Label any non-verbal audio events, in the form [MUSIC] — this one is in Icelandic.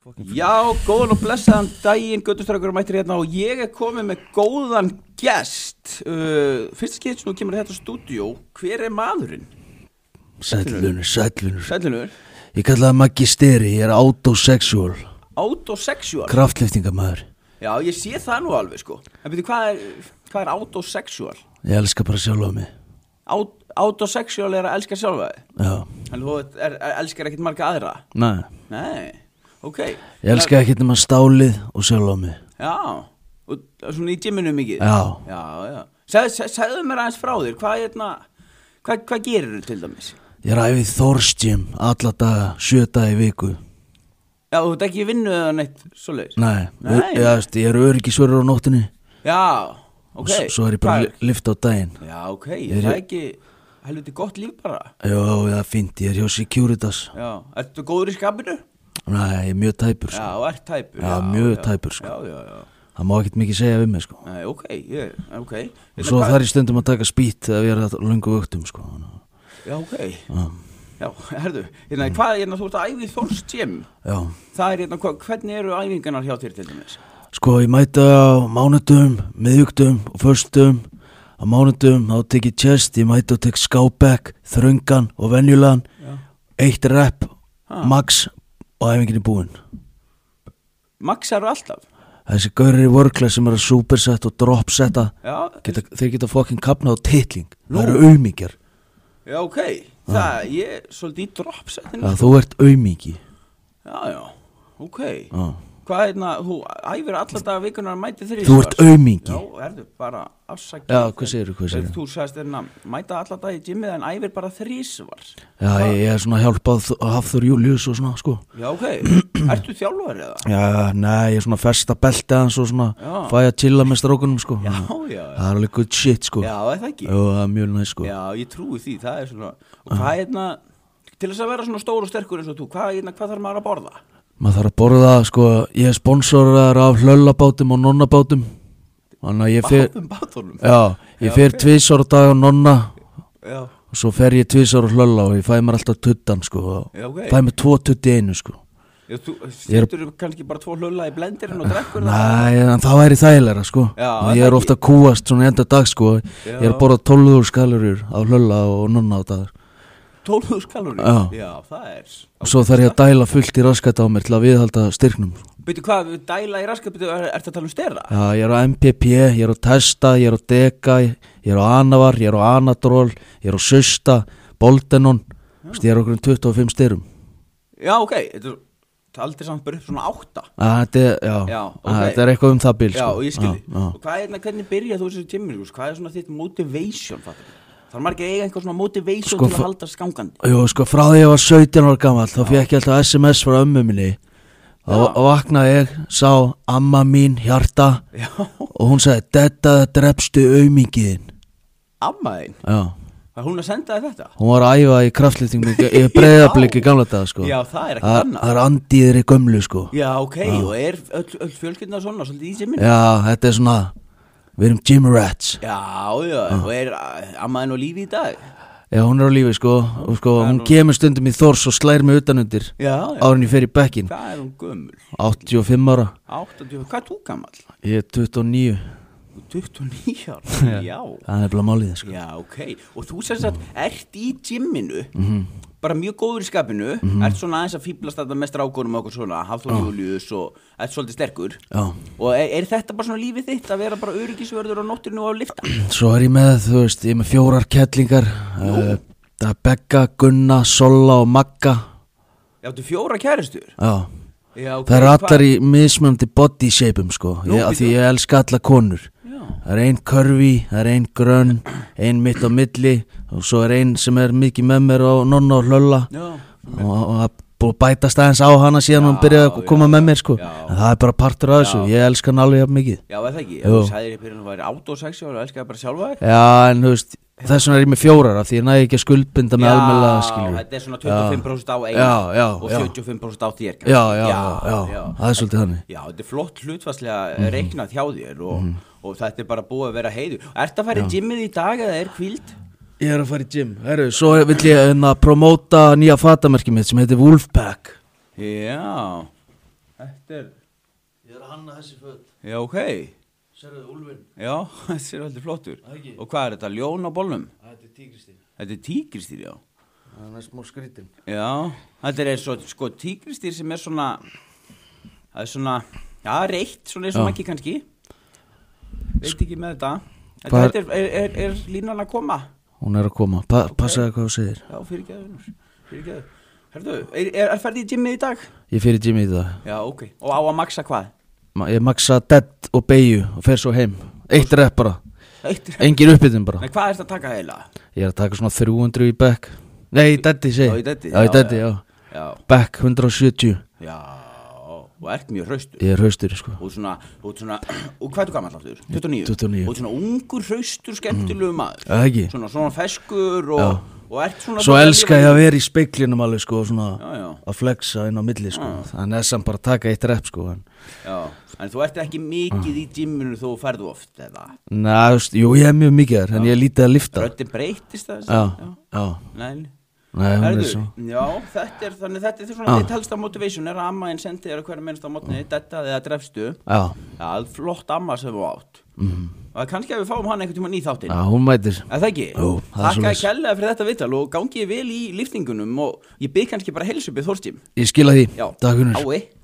Fucking Já, góðan og blessaðan daginn, göttustrákur og mættir hérna og ég er komið með góðan gest. Uh, fyrst skeitt sem þú kemur í þetta stúdíó, hver er maðurinn? Sællunur, sællunur Sælunur, Ég kalla það Maggi Steri, ég er autosexual autosexual. Kraftliftingamæður Já, ég sé það nú alveg sko. En veitu, hvað er, hvað er autosexual? Ég elska bara sjálfa mig Aut, autosexual er að elska sjálfa þig. Já, En þú ert- er, er, elskar ekkert marga aðra. næ Nei, ok. Ég elska ekkert nema stálið og sjálfa mig Já, og svona í gymminu mikið. Já. Já, já. Seg, seg, segðu mér aðeins frá þér, hvað, hérna, hvað, hvað gerir þú til dæmis? Ég ræfi þorstjum alla daga, sjö daga í viku Já, þú ert ekki í vinnu eða neitt svoleiðis? Næ, Nei. ég, veist, ég er öryggisverður á nóttinni Já, og ok. s- Svo er ég bara Hvað- li- lyft á daginn Já, ok, er það ekki helviti gott líf bara? Jó, það er fínt, ég er hjá Securitas Já, ertu góður í skapinu? Næ, ég er mjög tæpur sko. Já, og ert tæpur. Já, mjög tæpur, sko. Já, já, já. Það má ekkert mikið segja um mig sko Nei, ok, ég, ok. Hérna, Og svo þar ég stundum að taka spýt ef ég er að lungu vöktum sko Já, ok. Já, herðu, hérna, Mm. hvað, hérna, þú ert að æfi þorst sem? Já Það er, hérna, hva, hvernig eru æfingarnar hjá þér til dæmis? Sko, ég mæta á mánudum, miðjugdum og förstum. Á mánudum þá tek ég chest, ég mæta og tek skábæk, þröngan og venjulegan. Eitt rep, max og æfingin er búinn. Maxar alltaf? Þessi gaurir í workla sem eru að supersetta og dropsetta, Já, geta, þeir geta fokkin kapna á titling. Nú. Það eru auðmíkjar. já, ok. Það, ég er svolítið í dropsettinu. Já, þú ert auðmíki. Já, já, ok. Já. Hvað er það, þú æfir alla daga vikunar að mæti þrýsvar. Þú ert aumingi. Já, erðu, bara afsakið. Já, hvað segirðu, hvað segirðu? Þú sagðist þérna, mæta alla daga í gymmið en æfir bara þrýsvar. Já, ég, ég er svona að hjálpa að Hafþór Július og svona, sko. Já, ok. [CLEARS THROAT] Ertu þjálfari eða? Já, nei, ég er svona að festa beltið hans og svona Já. fæ að chilla með strákunum, sko. Já, já, já. Það er alveg good shit, sko. Já, er það ekki? Jú, það er mjög næst, sko. Já, ég trúi því, það er svona, og hvað er það, til þess að vera svona stór og sterkur eins og þú, hvað, hérna, hvað þarf maður að borða? Maður þarf að borða, sko, ég er sponsorar af hlöllabátum og nonnabátum. Þannig að ég fer, Báðum bátunum? já, ég fer okay. tvisar á dag á nonna Já, og svo fer ég tvisar á hlölla og ég fæ mér alltaf tuttan, sko. og Já, ok. Fæ mér tvo tutti í einu, sko. Já, þú setur kannski bara tvo hlölla í blendirinn og drekkur það? Nei, en það væri þægilega, sko. Já, Og er ég það er ekki? ofta að kúast svona í enda dag, sko. Ég er Já. að borða 12 skalurur af hlölla og nonna á dagar. 12 kalóri? Já. það er... og svo þarf ég að dæla fullt í raskata á mér til að viðhalda styrknum sko. Byrju, hvað, við dæla í raskapitu, er, ertu að tala um stera? Já, ég er á MPP, ég er á Testa, ég er á Dega, ég er á Anavar, ég er á Anadrol, ég er á Susta, Boldenon, Þú veist, ég er okkur um 25 styrum. Já, ok, þetta er- það er aldrei samt bara upp svona átta. Já, þetta er, já, Já, já ok. þetta er eitthvað um það bíl, Já, og ég skilji. Já, Og hvað er hérna, hvernig byrjað þú þessu tímur, sko? hvað er svona þitt motivation, fattur þú? Þarf maður ekki að eiga eitthvað svona motivation Sko, til fa- að halda skangandi? Jú, sko, frá því ég var 17 ára gammal, þá fekk ég alltaf SMS frá ömmu minni. Já. Þá vaknaði ég, sá amma mín, hjarta, Já, og hún sagði, þetta drefstu aumingiðin. amma þín, Já. var hún að senda þér þetta? Hún var að æfa í kraftlýtingum í breyðablík í gamla daga sko Já, það er ekkert Þa- annað. Það er andýðir í gömlu sko Já, Já, ok, og er öll, öll fjölskyldna svona, svolítið í sér þetta er svona Við erum gym rats Já, já, og er uh, amma þín á lífi í dag? Já, hún er á lífi sko Og sko, hún kemur stundum í þors og slær mig utanundir Já, já. Árin ég fer í bekkin Hvað er hún gömul? 85 ára 80, hvað er þú gammal? Ég er 29 Þú ert 29 ára, [LAUGHS] já Það er bara málið sko Já, ok, og þú sem sagt ert í gymminu bara mjög góður í skapinu ert svona aðeins að fýblast þetta með strákunum og okkur svona, Hafþór Július og ert svolítið sterkur Já og er, er þetta bara svona lífið þitt að vera bara öryggisvörður á nóttinu og á lifta? Svo er ég með, þú veist, ég er með fjórar kettlingar uh, Það er Begga, Gunna, Solla og Magga Já, þú fjóra kæristur? Já Já, ok, Það eru hvað- allar í mismöndi body shapeum sko Nú, ég, af Því býtu. ég elska alla konur Já. Það er ein körfi, það er ein grönn Ein mitt á milli Og svo er ein sem er mikið með mér á nonna og hlölla Já, Og og það er búið að bætast aðeins á hana síðan hún byrjaði að já, koma með mér sko já. En það er bara partur af þessu, ég elska hann alveg jafn mikið já, er það ekki, Jú. þú sagðir ég byrjun að væri átt og sexi og elskaði bara sjálfa þig Já, en þú veist, þess vegna er ég með fjórar af Því ég næði ekki að skuldbinda með almennlega skilur þetta er svona 25% á einu Já, já, og já. 75% á þér kannski. Já, já, já, já, það er svolítið þannig Já, þetta er flott hlutfarslega Mhm. mm. reiknað hjá þér og, og þetta er bara búið að vera heiður. Ert að fara í gymmið í dag eða er kvíld? Ég er að fara í gym, herru, svo vill ég hérna, promóta nýja fatamerkið mitt sem heitir Wolfpack Já, Þetta er Ég er að hanna þessi föt Já, ok Serðu, Úlfin Já, [LAUGHS] þessi er heldur flottur Það ekki? Og hvað er þetta, ljón á bollum? Þetta er tígristin Þetta er tígristýr, já Það er næst mór skrítin Já, þetta er eins og sko tígristýr sem er svona Það er svona, já, reitt, svona eins og Já. ekki kannski Veit ekki með þetta Þetta, Hvað er- þetta er, er, er, er línan að koma Hún er að koma pa Passaðu hvað þú segir Já, fyrirgeðu, fyrirgeðu Herðu, er, er, er ferðið í gymmið í dag? Ég fyrir Jimmy í það Já, ok Og á að maksa hvað? Ma Ég maksa dead og beigju og fer svo heim Eitt rep bara Eitt Engin uppbytun bara Nei, hvað er þetta að taka eiginlega? Ég er að taka svona 300 í back Nei, í deadi segi Já, í deaddi, Já, já, í deadi, já. já Já, Back 170 já, og ert mjög hraustur Ég er haustur, sko Og svona, og svona, [CLEARS THROAT] og hvað er þú gammal aftur? 29 29. Og Mm. svona ungur hraustur skemmtilegu maður Það ekki Svona, svona feskur og, og ert svona Svo elska ég að vera í speiklinum alveg, sko og Svona Já, já, að flexa inn á milli, sko Ah. Þannig er samt bara að taka eitt rep, sko en... já En þú ert ekki mikið í gymminu þó ferðu oft eða Næ, þú veist, jú, ég er mjög mikið þar En ég er lítið að lifta Röddin breytist það Já, já Nei, Nei, hún er Herðu, svo Ah. já, þetta er þannig, þetta er svona, þetta helst að motivation er að amma en sendi þér að hverja mennst á mótni, þetta eða drefstu. Já, Já, flott amma sem við átt Mhm. Og kannski að við fáum hann einhvern tímann í þáttinn já, hún mætir Er það ekki? Ah. Jú, það er Þakka svoleiðis. kærlega fyrir þetta viðtal og gangi ég vel í liftingunum og ég bygg kannski bara heilsupið Þorstim Ég skila því, Já, takk húnur ái